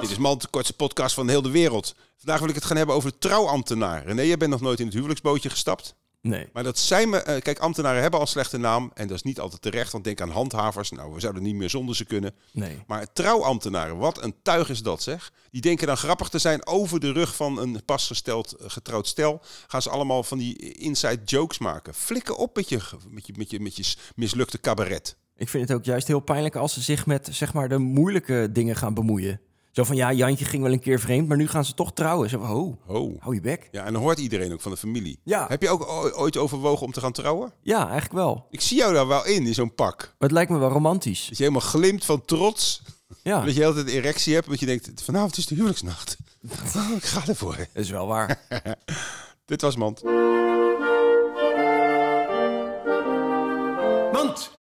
Dit is man, de kortste podcast van heel de wereld. Vandaag wil ik het gaan hebben over de trouwambtenaar. René, jij bent nog nooit in het huwelijksbootje gestapt. Nee. Maar dat zijn we. eh, kijk, ambtenaren hebben al slechte naam. En dat is niet altijd terecht. Want denk aan handhavers. Nou, we zouden niet meer zonder ze kunnen. Nee. Maar trouwambtenaren, wat een tuig is dat zeg. Die denken dan grappig te zijn over de rug van een pasgesteld eh, getrouwd stel. Gaan ze allemaal van die inside jokes maken. Flikken op met je, ge- met je, met je, met je s- mislukte cabaret. Ik vind het ook juist heel pijnlijk als ze zich met zeg maar, de moeilijke dingen gaan bemoeien. Zo van, ja, Jantje ging wel een keer vreemd, maar nu gaan ze toch trouwen. Zo van, ho, Oh. hou je bek. Ja, en dan hoort iedereen ook van de familie. Ja. Heb je ook o- ooit overwogen om te gaan trouwen? Ja, eigenlijk wel. Maar Ik zie jou daar wel in, in zo'n pak. het lijkt me wel romantisch. Dat je helemaal glimt van trots. Ja, Dat je altijd een erectie hebt. Dat je denkt, vanavond is de huwelijksnacht. Oh, ik ga ervoor. dat is wel waar. Dit was Mand.